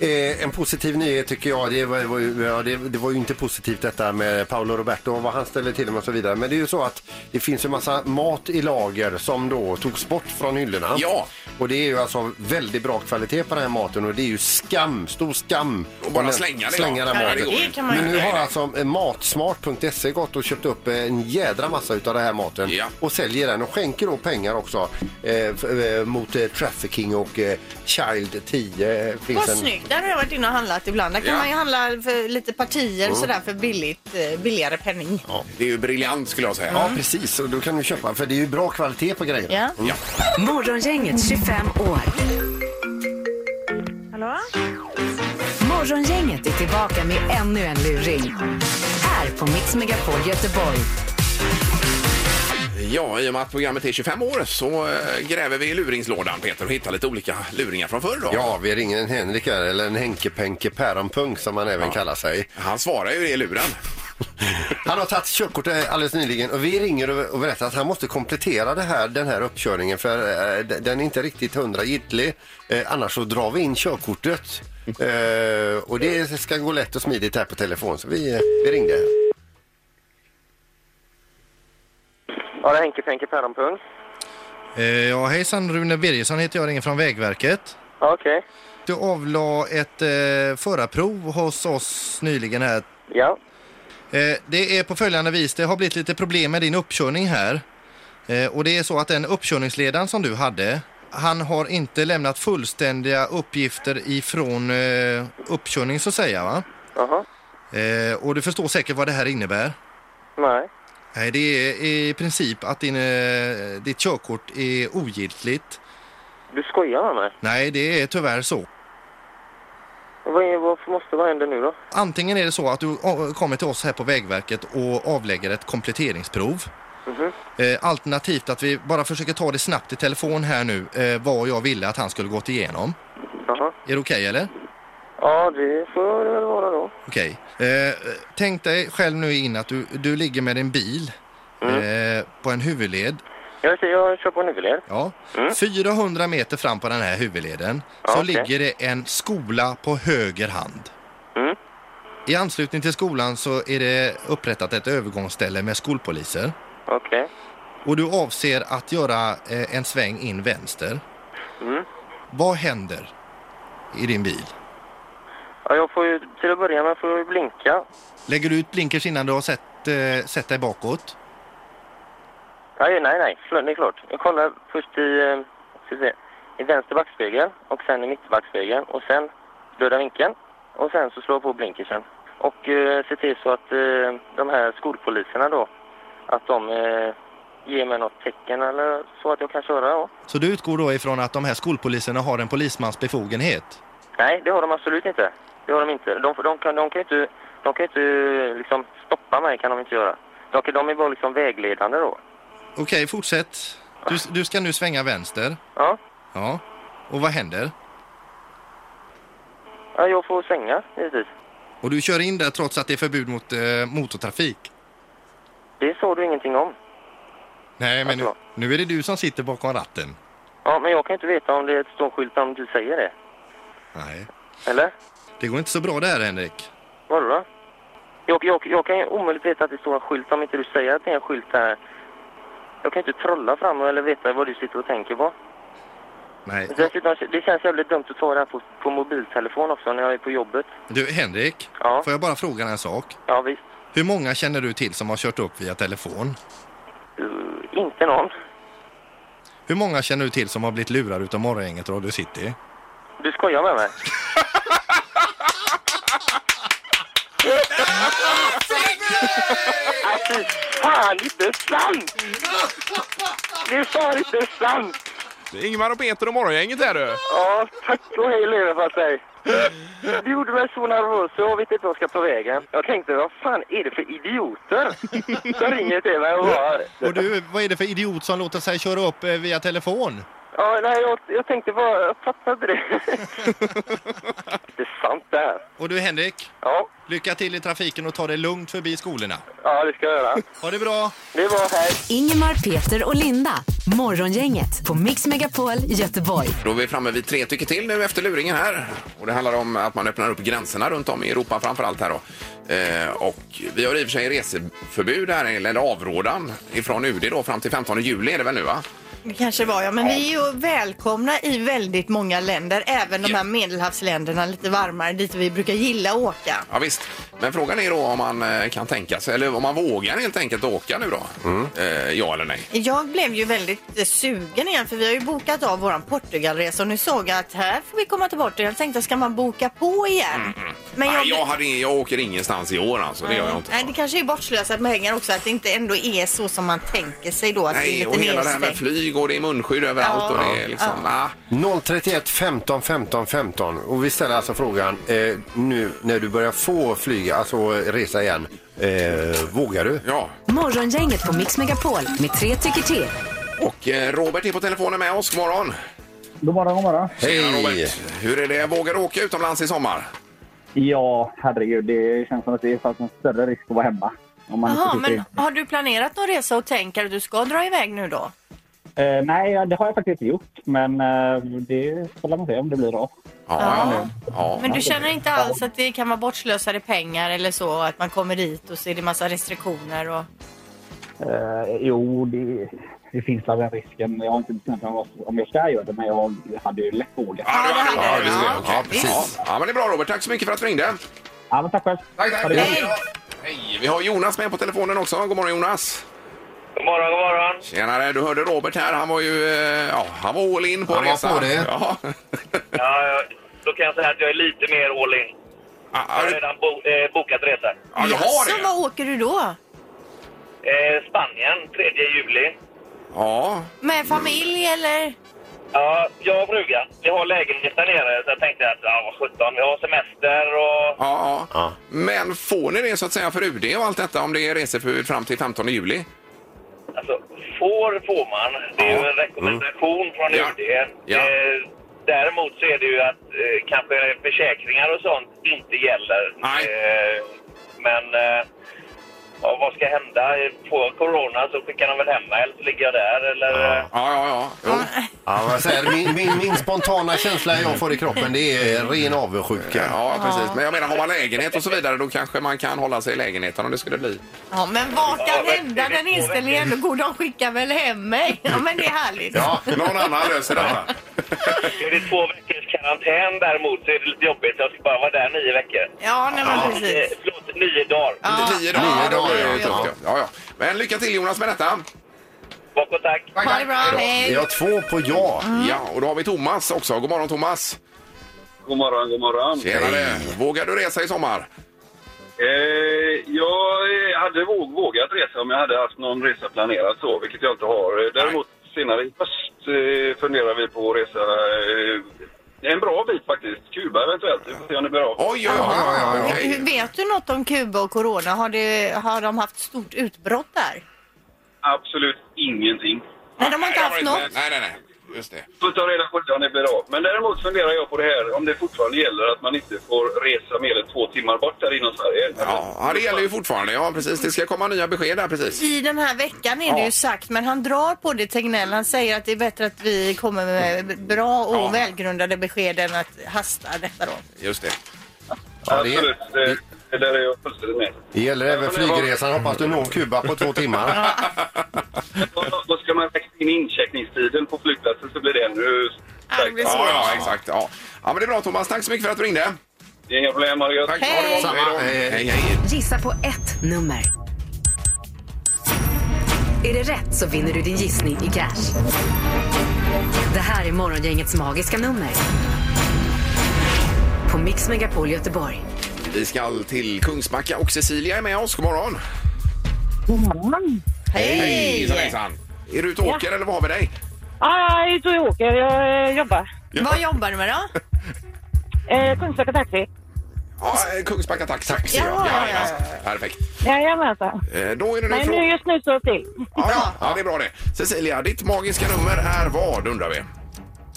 Speaker 11: Eh, en positiv nyhet tycker jag, det var, var, ju- ja, det, det var ju inte positivt detta med Paolo Roberto och vad han ställer till med och så vidare. Men det är ju så att det finns en massa mat i lager som då togs bort från hyllorna.
Speaker 5: Ja.
Speaker 11: Och det är ju alltså väldigt bra kvalitet på den här maten och det är ju skam, stor skam.
Speaker 5: Och bara
Speaker 11: om den-
Speaker 5: slänga det,
Speaker 11: slänga
Speaker 5: ja.
Speaker 11: den
Speaker 5: Ja,
Speaker 11: maten.
Speaker 5: det går ju.
Speaker 6: kan man ju
Speaker 11: Men nu
Speaker 5: göra.
Speaker 11: har alltså eh, Matsmart.se gått och köpt upp eh, en jädra massa utav den här maten
Speaker 5: Ja.
Speaker 11: och säljer den och skänker då pengar också eh, f- eh, mot eh, trafficking och eh, Child 10. eh, Finns
Speaker 6: Vad snyggt. Där har jag varit inne och handlat ibland. Där kan
Speaker 5: Ja. Mm.
Speaker 6: man ju handla för lite partier sådär för billigt, eh, billigare penning.
Speaker 5: Det är ju briljant skulle jag säga.
Speaker 11: Ja, precis. Och då kan du köpa, för det är ju bra kvalitet på grejerna.
Speaker 6: Ja.
Speaker 5: Ja.
Speaker 4: Morgongänget 25 år.
Speaker 12: Hallå?
Speaker 4: Morgongänget är tillbaka med ännu en luring. Här på Mix Megapol Göteborg.
Speaker 5: ja, i och med att programmet är 25 år så eh, gräver vi i luringslådan Peter och hittar lite olika luringar från förr då.
Speaker 11: Ja, vi ringer en Henrik här, eller en Henke-Penke Päronpung som han även kallar sig.
Speaker 5: Han svarar ju det i luren.
Speaker 11: Han har tagit körkort eh, alldeles nyligen och vi ringer och och berättar att han måste komplettera det här, den här uppkörningen för eh, d- den är inte riktigt hundra giltig. Eh, Annars så drar vi in körkortet. Eh, Och det ska gå lätt och smidigt här på telefon så vi, eh, vi ringde.
Speaker 9: Ja, det är Henke Fenke Päronpung.
Speaker 11: Eh, Ja, hejsan Rune Birgersson heter jag, ringer från Vägverket.
Speaker 9: Ja, Okej.
Speaker 11: Du avlade ett eh, förarprov hos oss nyligen här.
Speaker 9: Ja.
Speaker 11: Eh, det är på följande vis, det har blivit lite problem med din uppkörning här. Eh, och det är så att den uppkörningsledaren som du hade, han har inte lämnat fullständiga uppgifter ifrån eh, uppkörning så att säga va?
Speaker 9: Jaha.
Speaker 11: Eh, och du förstår säkert vad det här innebär.
Speaker 9: Nej.
Speaker 11: Nej, det är i princip att din, eh, ditt körkort är ogiltigt.
Speaker 9: Du skojar med mig.
Speaker 11: Nej, det är tyvärr så.
Speaker 9: Vad, är, vad måste vad händer nu då?
Speaker 11: Antingen är det så att du a- kommer till oss här på Vägverket och avlägger ett kompletteringsprov.
Speaker 9: Mhm.
Speaker 11: Eh, Alternativt att vi bara försöker ta det snabbt i telefon här nu, eh, vad jag ville att han skulle gått igenom.
Speaker 9: Jaha.
Speaker 11: Är det okej eller?
Speaker 9: Ja, det får det väl vara då.
Speaker 11: Okej. Eh, tänk dig själv nu in att du, du ligger med din bil
Speaker 9: Mm.
Speaker 11: eh, på en huvudled.
Speaker 9: Jag, ser, jag kör på en huvudled.
Speaker 11: Ja. 400 meter fram på den här huvudleden så
Speaker 9: okej.
Speaker 11: ligger det en skola på höger hand.
Speaker 9: Mm.
Speaker 11: I anslutning till skolan så är det upprättat ett övergångsställe med skolpoliser.
Speaker 9: Okej.
Speaker 11: Och du avser att göra eh, en sväng in vänster.
Speaker 9: Mm.
Speaker 11: Vad händer i din bil?
Speaker 9: Ja, jag får ju till att börja med får jag ju blinka.
Speaker 11: Lägger du ut blinkers innan du har sett, eh, sett dig bakåt?
Speaker 9: Nej, nej, nej. Förlåt, det är klart. Jag kollar först i, eh, ska vi se, i vänster backspegel och sen i mittbackspegeln och sen döda vinkeln och sen så slår jag på blinkersen. Och eh, ser till så att eh, de här skolpoliserna då, att de eh, ger mig något tecken eller så att jag kan köra då.
Speaker 11: Så du utgår då ifrån att de här skolpoliserna har en polismans befogenhet?
Speaker 9: Nej, det har de absolut inte. Det har de inte. De, de, kan, de kan ju inte, de kan ju inte liksom stoppa mig kan de inte göra. De, kan- de är bara liksom vägledande då.
Speaker 11: Okej, fortsätt. Du, du ska nu svänga vänster.
Speaker 9: Ja,
Speaker 11: Ja. Och vad händer?
Speaker 9: ja jag får svänga givetvis.
Speaker 11: Och du kör in där trots att det är förbud mot eh, motortrafik?
Speaker 9: Det sa du ingenting om.
Speaker 11: Nej, men nu,
Speaker 9: Alltså.
Speaker 11: nu är det du som sitter bakom ratten.
Speaker 9: Ja, men jag kan inte veta om det står en skylt om du säger det.
Speaker 11: Nej,
Speaker 9: Eller?
Speaker 11: det går inte så bra det här Henrik.
Speaker 9: Vadå då? Jag, jag, jag kan ju omöjligt veta att det står en skylt om inte du säger att det är en skylt där. Jag kan ju inte trolla fram eller veta vad du sitter och tänker på.
Speaker 11: Nej.
Speaker 9: Dessutom, det känns jävligt dumt att ta det här på, på mobiltelefon också när jag är på jobbet.
Speaker 11: Du Henrik,
Speaker 9: Ja.
Speaker 11: får jag bara fråga en sak?
Speaker 9: Ja, visst.
Speaker 11: Hur många känner du till som har kört upp via telefon?
Speaker 9: Uh, inte någon.
Speaker 11: Hur många känner du till som har blivit lurade utav Morgongänget och Radio City?
Speaker 9: Du skojar med mig? Alltså, fan inte sant! Det är fan inte sant!
Speaker 5: Det är Ingmar och Peter och Morgongänget här du.
Speaker 9: Ja, tack och hej leverpastej. Du gjorde mig så nervös så jag vet inte vad jag ska ta vägen. Jag tänkte, vad fan är det för idioter som ringer till mig och bara...
Speaker 11: Och du, vad är det för idiot som låter sig köra upp eh, via telefon?
Speaker 9: Ja, nej, jag, jag tänkte bara, jag fattade
Speaker 11: <laughs>
Speaker 9: inte det. Det är sant det här.
Speaker 11: Och du Henrik?
Speaker 9: Ja.
Speaker 11: Lycka till i trafiken och ta det lugnt förbi skolorna.
Speaker 9: Ja, det ska jag göra.
Speaker 11: Ha det bra!
Speaker 9: Det var hej.
Speaker 4: Ingemar, Peter och Linda. Morgongänget på Mix Megapol Göteborg.
Speaker 5: Då är vi framme vid tre tycker till nu efter luringen här. Och det handlar om att man öppnar upp gränserna runt om i Europa framför allt här då. Eh, och vi har i och för sig reseförbud här, eller avrådan ifrån UD då fram till 15 juli är det väl nu va?
Speaker 6: Det kanske var ja, men vi är ju välkomna i väldigt många länder, även de här medelhavsländerna lite varmare dit vi brukar gilla att åka.
Speaker 5: Ja, visst. Men frågan är då om man eh, kan tänka sig, eller om man vågar helt enkelt åka nu då? Eh, ja eller nej?
Speaker 6: Jag blev ju väldigt eh, sugen igen för vi har ju bokat av våran Portugalresa och nu såg jag att här får vi komma till Portugal. Jag tänkte, ska man boka på igen? Men
Speaker 5: Mhm. Nej, jag, hade, ing- jag åker ingenstans i år alltså, det gör jag inte.
Speaker 6: Nej, det kanske är bortslösat med pengar också att det inte ändå är så som man tänker sig då. Att det
Speaker 5: Nej,
Speaker 6: är
Speaker 5: och
Speaker 6: lite
Speaker 5: hela det här med
Speaker 6: nedstängt.
Speaker 5: flyg och det är munskydd överallt
Speaker 6: Ja.
Speaker 5: och det är liksom, ah,
Speaker 7: 031 15 15 15 och vi ställer alltså frågan eh, nu när du börjar få flyga, alltså resa igen, eh, vågar du?
Speaker 5: ja.
Speaker 4: Morgongänget på Mix Megapol med tre tycker till.
Speaker 5: Och eh, Robert är på telefonen med oss, God morgon.
Speaker 13: God morgon, god morgon.
Speaker 5: Tjena, Robert. Hur är det, vågar du åka utomlands i sommar?
Speaker 13: Ja, herregud. Det känns som att det är faktiskt en större risk att vara hemma. Om man
Speaker 6: Jaha,
Speaker 13: inte sitter
Speaker 6: men har du planerat någon resa och tänker att du ska dra iväg nu då?
Speaker 13: i- Eh, nej, det har jag faktiskt inte gjort. Men eh, det får man se om det blir av.
Speaker 5: Ja,
Speaker 6: Men du känner inte alls att det kan vara bortslösade pengar eller så? Att man kommer dit och så är det massa restriktioner och...
Speaker 13: Eh, jo, det, det finns väl den risken. Jag har inte bestämt mig om jag- om jag ska göra det, men jag hade ju lätt vågat.
Speaker 5: Ja, det är det. Okej. Ja, ja, men det är bra Robert. Tack så mycket för att du ringde.
Speaker 13: Ja, men tack själv.
Speaker 5: Tack, tack.
Speaker 13: Ha det gott.
Speaker 5: Hej. Hej. Vi har Jonas med på telefonen också. God morgon Jonas.
Speaker 9: God morgon, god morgon.
Speaker 5: Tjenare, du hörde Robert här. Han var ju, eh, ja, han var all in på
Speaker 7: Han var
Speaker 5: resan.
Speaker 7: på det.
Speaker 5: Ja. <laughs>
Speaker 9: Ja, ja, då kan jag säga att jag är lite mer all in.
Speaker 5: Ja,
Speaker 9: Jag har redan bo, eh, bokat resa.
Speaker 5: Ja, du har
Speaker 6: Så
Speaker 5: det?
Speaker 6: vad åker du då?
Speaker 9: Eh, Spanien, 3 juli.
Speaker 5: Ja.
Speaker 6: Med familj eller?
Speaker 9: Ja, jag och frugan, vi har lägenhet där nere så jag tänkte att ja, vad sjutton, vi har semester och...
Speaker 5: Ja, ja. Men får ni det så att säga för UD och allt detta om det är reseförbud fram till 15 juli?
Speaker 9: Alltså, får får man. Det är ju en rekommendation från
Speaker 5: Mm. Ja.
Speaker 9: UD.
Speaker 5: Ja.
Speaker 9: Eh, däremot så är det ju att eh, kanske försäkringar och sånt inte gäller.
Speaker 5: Nej.
Speaker 9: Eh, men eh, ja, vad ska hända? Får jag corona så skickar de väl hem mig eller så ligger jag där eller... eh,
Speaker 5: Ja, ja, ja. Jo.
Speaker 7: Ja, vad jag säger, min, min, min spontana känsla jag får i kroppen det är ren avundsjuka.
Speaker 5: Ja, precis. Men jag menar, har man lägenhet och så vidare då kanske man kan hålla sig i lägenheten om det skulle bli.
Speaker 6: Ja, men vad
Speaker 9: Ja,
Speaker 6: kan
Speaker 9: men-
Speaker 6: hända? Den inställningen är ändå god. De skickar väl hem mig? Ja, men det är härligt.
Speaker 5: Ja, någon annan löser detta.
Speaker 9: eh, Är det två veckors karantän däremot så är det lite jobbigt. Jag ska bara vara där nio veckor.
Speaker 6: Ja, nej, men
Speaker 9: Eh,
Speaker 6: precis.
Speaker 9: förlåt, nio dagar.
Speaker 6: Ja.
Speaker 5: Nio dagar.
Speaker 7: Nio dagar,
Speaker 5: det är ju
Speaker 7: ja.
Speaker 5: tufft, ja. Ja, ja. Men lycka till Jonas med detta.
Speaker 6: Mm.
Speaker 9: Bakåt tack.
Speaker 6: Ha det bra, hej!
Speaker 7: Vi har två på ja.
Speaker 5: Ja, och då har vi Thomas också. God morgon Thomas.
Speaker 9: God morgon, god morgon.
Speaker 5: Tjenare. Vågar du resa i sommar?
Speaker 9: Eh, jag eh, hade våg, vågat resa om jag hade haft någon resa planerad så, vilket jag inte har. Eh, Däremot senare i höst eh, funderar vi på att resa eh, en bra bit faktiskt. Kuba eventuellt. Vi får se om det blir av.
Speaker 5: Oj, oj, oj. oj, oj.
Speaker 6: Hur- Vet du något om Kuba och corona? Har, det, har de haft stort utbrott där?
Speaker 9: Absolut ingenting.
Speaker 6: Nej, de har inte haft något.
Speaker 5: Nej, nej, nej. Just det.
Speaker 9: får ta reda på det om det blir av. Men däremot funderar jag på det här om det fortfarande gäller att man inte får resa mer än två timmar bort här inom Sverige.
Speaker 5: Ja, ja, det gäller ju fortfarande. Ja, precis. Det ska komma nya besked där precis.
Speaker 6: I den här veckan är det
Speaker 5: Ja.
Speaker 6: ju sagt, men han drar på det Tegnell. Han säger att det är bättre att vi kommer med bra och
Speaker 5: Ja.
Speaker 6: välgrundade besked än att hasta detta då.
Speaker 5: Just det.
Speaker 7: ja det,
Speaker 9: Absolut, det, det där är jag fullständigt med.
Speaker 7: det gäller även flygresan. Hoppas du når Kuba på två timmar.
Speaker 9: Då- Då ska man räkna in incheckningstiden på flygplatsen så blir det ännu...
Speaker 6: Ja, det blir
Speaker 5: Ja,
Speaker 6: svårt.
Speaker 5: ja, exakt. Ja. ja, men det är bra Thomas. Tack så mycket för att du ringde.
Speaker 9: Det är inga problem, ha det gött.
Speaker 5: Tack. Ha det gott.
Speaker 7: Samma.
Speaker 5: Hej, då. hej. hej.
Speaker 4: Gissa på ett nummer. Är det rätt så vinner du din gissning i cash. Det här är Morgongängets magiska nummer. På Mix Megapol Göteborg.
Speaker 5: Vi ska till Kungsbacka och Cecilia är med oss. God morgon!
Speaker 10: God morgon.
Speaker 5: Hejsan, hejsan! Är du ute och åker eller vad har vi dig?
Speaker 10: Ja, jag är ute och åker. Jag eh, jobbar.
Speaker 6: Vad jobbar du med då?
Speaker 10: <laughs> Eh, Kungsbacka Taxi.
Speaker 5: Ja, eh, Kungsbacka Taxi. Taxi ja.
Speaker 10: Ja,
Speaker 5: Ja,
Speaker 10: ja, ja.
Speaker 5: Perfekt.
Speaker 10: Jajamensan.
Speaker 5: Eh, Då är det nu
Speaker 10: Nej, nu
Speaker 5: fråga...
Speaker 10: just nu står det still.
Speaker 5: Ja, ja, det är bra det. Cecilia, ditt magiska nummer är vad undrar vi?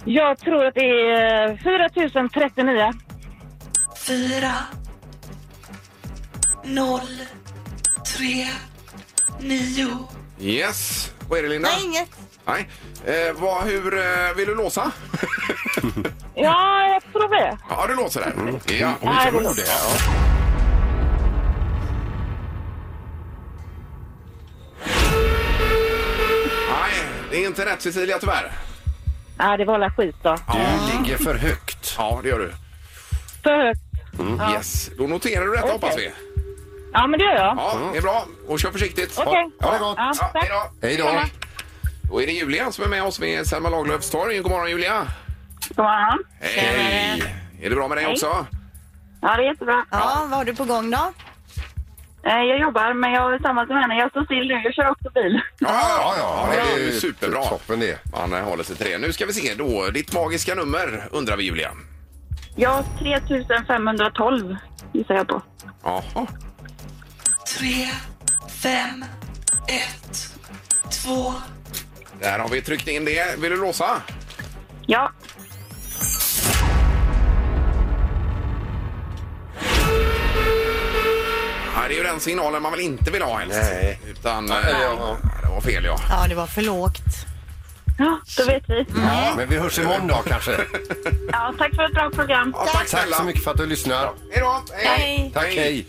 Speaker 10: Jag tror att det är eh, 4039.
Speaker 14: 4, 0, 3, 9.
Speaker 5: Yes. Vad är det Linda?
Speaker 14: Nej, inget.
Speaker 5: Nej. Eh, vad, hur eh, vill du låsa? <laughs>
Speaker 10: Ja, jag tror det.
Speaker 5: Ja, du låser där.
Speaker 10: Mm.
Speaker 5: Ja,
Speaker 10: Ja, jag tror det,
Speaker 5: Nej, det är inte rätt Cecilia tyvärr.
Speaker 10: Ja, det var alla skit då.
Speaker 5: Du ligger för högt. Ja, det gör du.
Speaker 10: För högt.
Speaker 5: Mm. Yes. Då noterar du detta
Speaker 10: Okej.
Speaker 5: hoppas vi.
Speaker 10: Ja, men det gör jag.
Speaker 5: Ja, det är bra. Och kör försiktigt.
Speaker 10: Okej.
Speaker 5: Ha det gott.
Speaker 10: Ja, tack.
Speaker 5: Hej då. Då är det Julia som är med oss vid Selma Lagerlöfs torg. God morgon Julia.
Speaker 10: God morgon.
Speaker 5: Hej. Är det bra med dig
Speaker 10: Hej.
Speaker 5: också?
Speaker 10: Ja, det är jättebra. Eh,
Speaker 6: Ja, vad har du på gång då?
Speaker 10: Jag jobbar, men jag är samma som henne. Jag står still nu. Jag kör också bil.
Speaker 5: Ja, ja,
Speaker 7: det
Speaker 5: det
Speaker 7: är
Speaker 5: är ju
Speaker 7: ju
Speaker 5: superbra.
Speaker 7: toppen
Speaker 5: det. Han eh, håller sig till det. Nu ska vi se då. Ditt magiska nummer undrar vi Julia.
Speaker 10: Ja, 3512 gissar jag på.
Speaker 5: Jaha.
Speaker 14: 3, 5, 1, 2.
Speaker 5: Där har vi tryckt in det. Vill du låsa?
Speaker 10: Ja.
Speaker 5: Nej, det är ju den signalen man väl inte vill ha helst. Nej. Utan... eh,
Speaker 7: ja.
Speaker 5: Det var fel ja.
Speaker 6: Ja, det var för lågt.
Speaker 10: Ja, då vet vi.
Speaker 7: Men vi hörs imorgon då kanske.
Speaker 10: Ja, tack för ett bra program.
Speaker 5: tack
Speaker 7: Tack så
Speaker 5: snälla.
Speaker 7: mycket för att du lyssnar.
Speaker 5: Hej då!
Speaker 10: Hej.
Speaker 7: Tack, hej.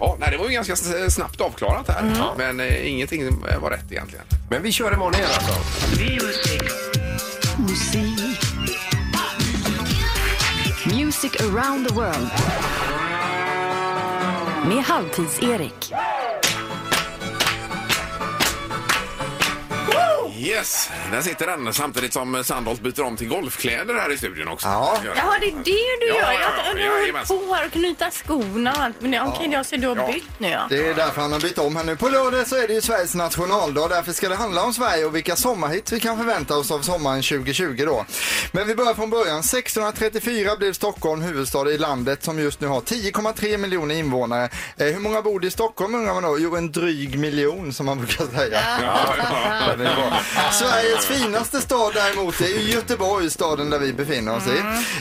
Speaker 5: Ja, nej, det var ju ganska s- snabbt avklarat här. Men eh, ingenting eh, var rätt egentligen.
Speaker 7: Men vi kör imorgon igen alltså.
Speaker 4: Music around the world. Med Halvtids-Erik.
Speaker 5: Yes! Där sitter den samtidigt som eh, Sandholt byter om till golfkläder här i studion också. Gör det.
Speaker 6: Jaha, det är det du
Speaker 5: Ja,
Speaker 6: gör?
Speaker 5: ja,
Speaker 6: Jag
Speaker 5: ja,
Speaker 6: du höll
Speaker 5: jajamensan.
Speaker 6: på här och knyta skorna och allt. Men ja, okej, jag ser du har
Speaker 8: Ja.
Speaker 6: bytt nu ja.
Speaker 8: Det är därför han har bytt om här nu. På lördag så är det ju Sveriges nationaldag. Därför ska det handla om Sverige och vilka sommarhits vi kan förvänta oss av sommaren 2020 då. Men vi börjar från början. 1634 blev Stockholm huvudstad i landet som just nu har 10,3 miljoner invånare. Eh, hur många bor det i Stockholm undrar man då? Jo, en dryg miljon som man brukar säga.
Speaker 7: Det är bra.
Speaker 8: Sveriges finaste stad däremot är ju Göteborg, staden där vi befinner oss i.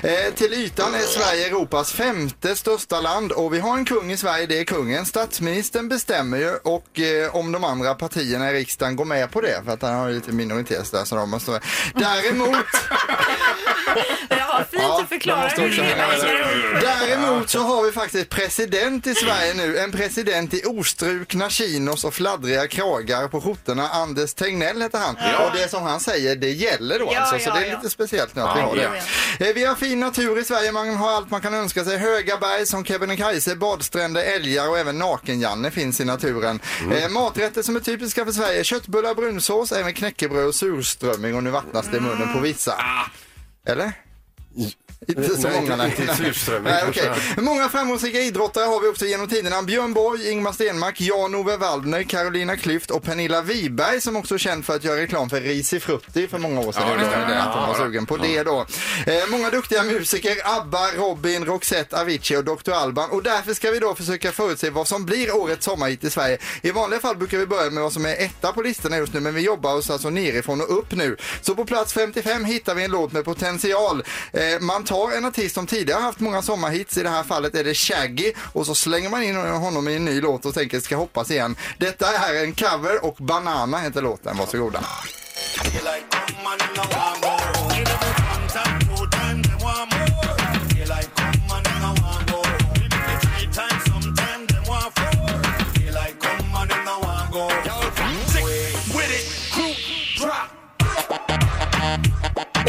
Speaker 8: Eh, till ytan är Sverige Europas femte största land och vi har en kung i Sverige, det är kungen. Statsministern bestämmer ju och eh, om de andra partierna i riksdagen går med på det för att han har ju lite minoritet där så de måste... Däremot...
Speaker 6: Det var fint
Speaker 8: Ja,
Speaker 6: att förklara
Speaker 8: de måste
Speaker 6: hur
Speaker 8: också
Speaker 6: det
Speaker 8: hänga
Speaker 6: hela
Speaker 8: med.
Speaker 6: ser ut.
Speaker 8: Däremot så har vi faktiskt president i Sverige nu. En president i ostrukna chinos och fladdriga kragar på skjortorna. Anders Tegnell heter han. Och det som han säger, det gäller då
Speaker 2: Ja,
Speaker 8: alltså. Så
Speaker 2: ja,
Speaker 8: det är
Speaker 2: ja.
Speaker 8: lite speciellt nu att vi
Speaker 2: Ja,
Speaker 8: har det. Eh, Vi har fin natur i Sverige. Man har allt man kan önska sig. Höga berg som Kebnekaise, badstränder, älgar och även naken-Janne finns i naturen.
Speaker 2: Mm.
Speaker 8: Eh, Maträtter som är typiska för Sverige. Köttbullar, brunsås, även knäckebröd och surströmming. Och nu vattnas det i munnen på vissa.
Speaker 2: Ah,
Speaker 8: Eller? Inte så
Speaker 7: Nej,
Speaker 8: många.
Speaker 7: inte-
Speaker 8: nej.
Speaker 7: inte surströmming,
Speaker 8: Nej,
Speaker 7: kanske.
Speaker 8: okej. Många framgångsrika idrottare har vi också genom tiderna. Björn Borg, Ingmar Stenmark, Jan-Ove Waldner, Carolina Klyft och Pernilla Wiberg som också är känd för att göra reklam för Risi Frutti för många år sedan.
Speaker 2: Ja, det stämmer.
Speaker 8: Att de var
Speaker 2: Ja,
Speaker 8: sugen på det då. Eh, många duktiga musiker, ABBA, Robin, Roxette, Avicii och Dr. Alban. Och därför ska vi då försöka förutse vad som blir årets sommarhit i Sverige. I vanliga fall brukar vi börja med vad som är etta på listorna just nu, men vi jobbar oss alltså nerifrån och upp nu. Så på plats 55 hittar vi en låt med potential. Eh, man tar en artist som tidigare haft många sommarhits, i det här fallet är det Shaggy, och så slänger man in honom i en ny låt och tänker ska hoppas igen. Detta är en cover och Banana heter låten, varsågoda.
Speaker 2: With it, crew, drop.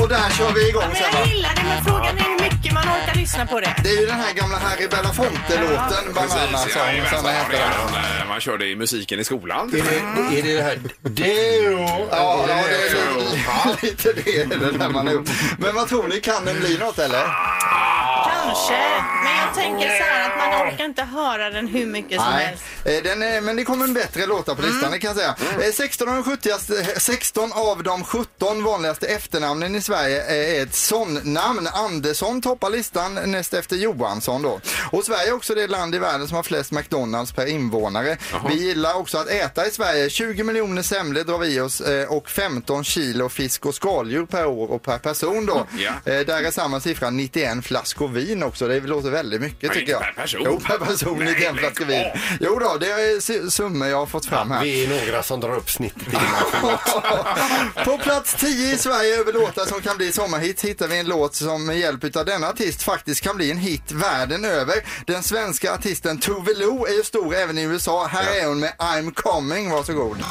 Speaker 8: Och där kör vi igång
Speaker 6: Men
Speaker 8: sen
Speaker 6: jag
Speaker 8: va?
Speaker 6: gillar det, men frågan är hur mycket man orkar lyssna på det.
Speaker 8: Det är ju den här gamla Harry Belafonte-låten, Banana
Speaker 5: Precis,
Speaker 8: som
Speaker 5: jajamän,
Speaker 8: som den
Speaker 5: ja,
Speaker 8: hette.
Speaker 5: det är den Man körde i musiken i skolan.
Speaker 7: Är det, är det det här? Deo?
Speaker 8: Ja, ja, det är lite det är det där man är uppe. Men vad tror ni, kan den bli något eller?
Speaker 6: Kanske, men jag tänker så här att man orkar inte höra den hur mycket som
Speaker 8: Nej,
Speaker 6: helst.
Speaker 8: eh, den är, men det kommer en bättre låta på listan, det kan jag säga. Eh, 16 av, de 70, 16 av de 17 vanligaste efternamnen i Sverige är ett sån-namn. Andersson toppar listan näst efter Johansson då. Och Sverige är också det land i världen som har flest McDonalds per invånare. Vi gillar också att äta i Sverige. 20 miljoner semlor drar vi i oss eh, och 15 kilo fisk och skaldjur per år och per person då.
Speaker 5: Ja.
Speaker 8: Eh, Där är samma siffra 91 flaskor vin också. Det låter väldigt mycket
Speaker 5: Nej,
Speaker 8: tycker jag.
Speaker 5: per person.
Speaker 8: Jo, per person
Speaker 5: Nej,
Speaker 8: 91
Speaker 5: lägg
Speaker 8: flaskor
Speaker 5: av.
Speaker 8: vin. Jo då, det är su- summor jag har fått fram här.
Speaker 7: Vi är några som drar upp snittet. i den
Speaker 8: <laughs>
Speaker 7: här
Speaker 8: På plats 10 i Sverige över låtar som kan bli sommarhit hittar vi en låt som med hjälp av denna artist faktiskt kan bli en hit världen över. Den svenska artisten Tove Lo är ju stor även i USA. Här är hon med I'm coming, varsågod.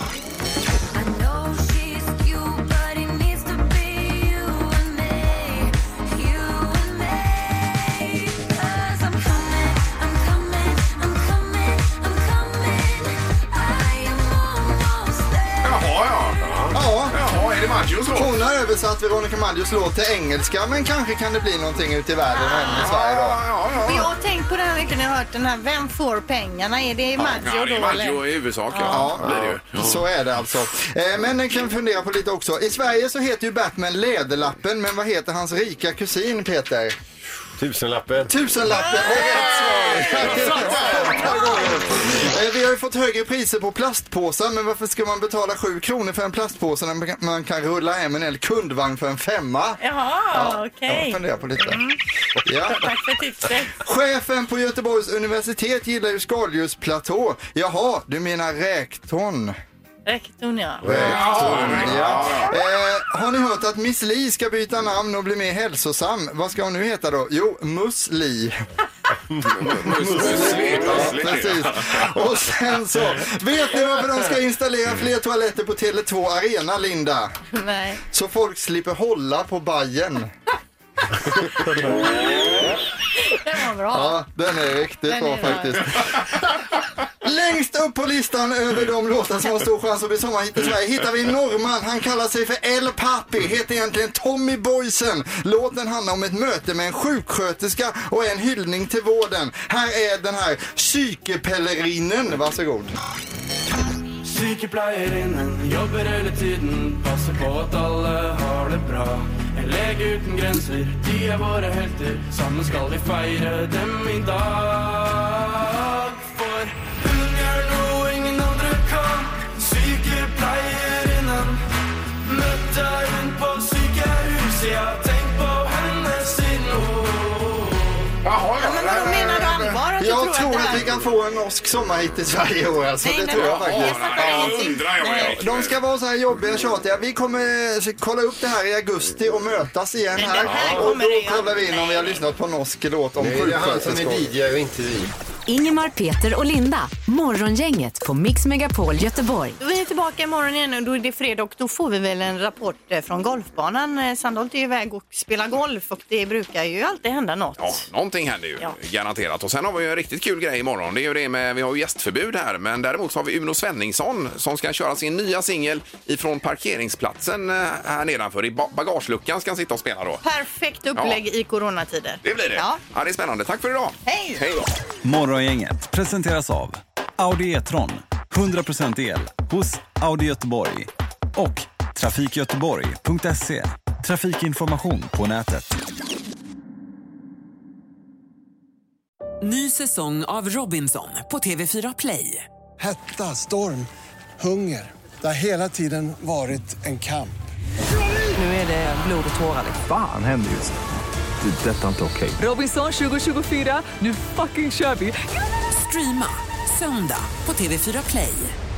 Speaker 5: Jaha, ja.
Speaker 8: Ja.
Speaker 5: Jaha, är det Maggios låt?
Speaker 8: Hon har översatt Veronica Maggios låt till engelska men kanske kan det bli någonting ute i världen och även i Sverige då.
Speaker 6: Och jag har tänkt på det här mycket när jag har hört den här Vem får pengarna? Är det Maggio
Speaker 5: Ja, det
Speaker 6: då
Speaker 5: är
Speaker 6: eller?
Speaker 5: Maggio i huvudsak. Ja. Det är det ju.
Speaker 8: Så är det alltså. Eh, Men ni kan fundera på lite också. I Sverige så heter ju Batman Läderlappen, men vad heter hans rika kusin Peter?
Speaker 7: Tusenlappen.
Speaker 8: Tusenlappen! Och rätt
Speaker 5: <laughs>
Speaker 8: svar! Åtta gånger. Eh, Vi har ju fått högre priser på plastpåsar, men varför ska man betala 7 kronor för en plastpåse när man kan rulla hem en hel kundvagn för en femma?
Speaker 6: Jaha, okej.
Speaker 8: Ja, fundera på lite.
Speaker 5: Mm.
Speaker 8: Ja.
Speaker 6: Tack för tipset.
Speaker 8: Chefen på Göteborgs universitet gillar ju skaldjursplatå. Jaha, du menar räktorn?
Speaker 6: Rektorn ja.
Speaker 8: Räktorn, ja. Eh, har ni hört att Miss Li ska byta namn och bli mer hälsosam? Vad ska hon nu heta då? Jo, Muss Li. Ja, precis. Och sen så, vet ni varför de ska installera fler toaletter på Tele2 Arena, Linda?
Speaker 6: Nej.
Speaker 8: Så folk slipper hålla på Bajen.
Speaker 6: Den var bra.
Speaker 8: Ja, den är riktigt
Speaker 6: Den
Speaker 8: bra
Speaker 6: är bra.
Speaker 8: faktiskt. Längst upp på listan över de låtar som har stor chans att bli sommarhit i Sverige hittar vi en norrman. Han kallar sig för El Papi, heter egentligen Tommy Boysen. Låten handlar om ett möte med en sjuksköterska och är en hyllning till vården. Här är den här psykepellerinen. Varsågod.
Speaker 15: Sykepleierinnen jobber hele tiden, passer på at alle har det bra. En lege uten grenser, de er våre helter. Sammen skal vi feire dem i dag. For hun gjør noe ingen andre kan. Sykepleierinnen. Møtte hun på sykehuset, ja, tenk på henne siden hun
Speaker 6: Ja, men vadå, menar du allvar att du tror
Speaker 8: Jag
Speaker 6: att
Speaker 8: tror
Speaker 6: det
Speaker 8: att
Speaker 6: här-
Speaker 8: vi kan få en norsk sommarhit i Sverige i år. Alltså,
Speaker 6: Nej,
Speaker 8: det
Speaker 6: men
Speaker 8: tror jag
Speaker 6: vad
Speaker 8: faktiskt.
Speaker 6: är det? Jag fattar ingenting. Nej.
Speaker 8: De ska vara så här jobbiga och tjatiga. Vi kommer se- kolla upp det här i augusti och mötas igen
Speaker 6: Men
Speaker 8: här.
Speaker 6: det här
Speaker 8: och
Speaker 6: kommer det
Speaker 8: då
Speaker 6: ju-
Speaker 8: kollar vi in om vi har lyssnat på norsk låt om
Speaker 7: Nej, det är han som är
Speaker 8: sjuksköterskor. och inte vi.
Speaker 4: Ingemar, Peter och Linda. Morgongänget på Mix Megapol Göteborg.
Speaker 6: Vi är tillbaka imorgon igen och då är det fredag och då får vi väl en rapport eh, från golfbanan. Eh, Sandholt är iväg och spelar golf och det brukar ju alltid hända något.
Speaker 5: Ja, någonting händer ju garanterat. Och sen har vi ju en riktigt kul grej imorgon. Det är ju det med, vi har ju gästförbud här, men däremot så har vi Uno Svenningsson som ska köra sin nya singel ifrån parkeringsplatsen eh, här nedanför. I ba- bagageluckan ska han sitta och spela då.
Speaker 6: Perfekt upplägg i coronatider.
Speaker 5: Det blir det. Ja. det är spännande. Tack för idag.
Speaker 6: Hej!
Speaker 5: Hej då.
Speaker 16: Morgongänget presenteras av Audi E-tron. 100% el hos Audi Göteborg. Och trafikgöteborg.se. Trafikinformation på nätet.
Speaker 1: Ny säsong av Robinson på TV4 Play.
Speaker 2: Hetta, storm, hunger. Det har hela tiden varit en kamp.
Speaker 1: Nu är det blod och tårar.
Speaker 3: Fan händer just det. Det är detta inte okej.
Speaker 1: Robinson 2024, nu fucking kör vi! Streama söndag på TV4 Play.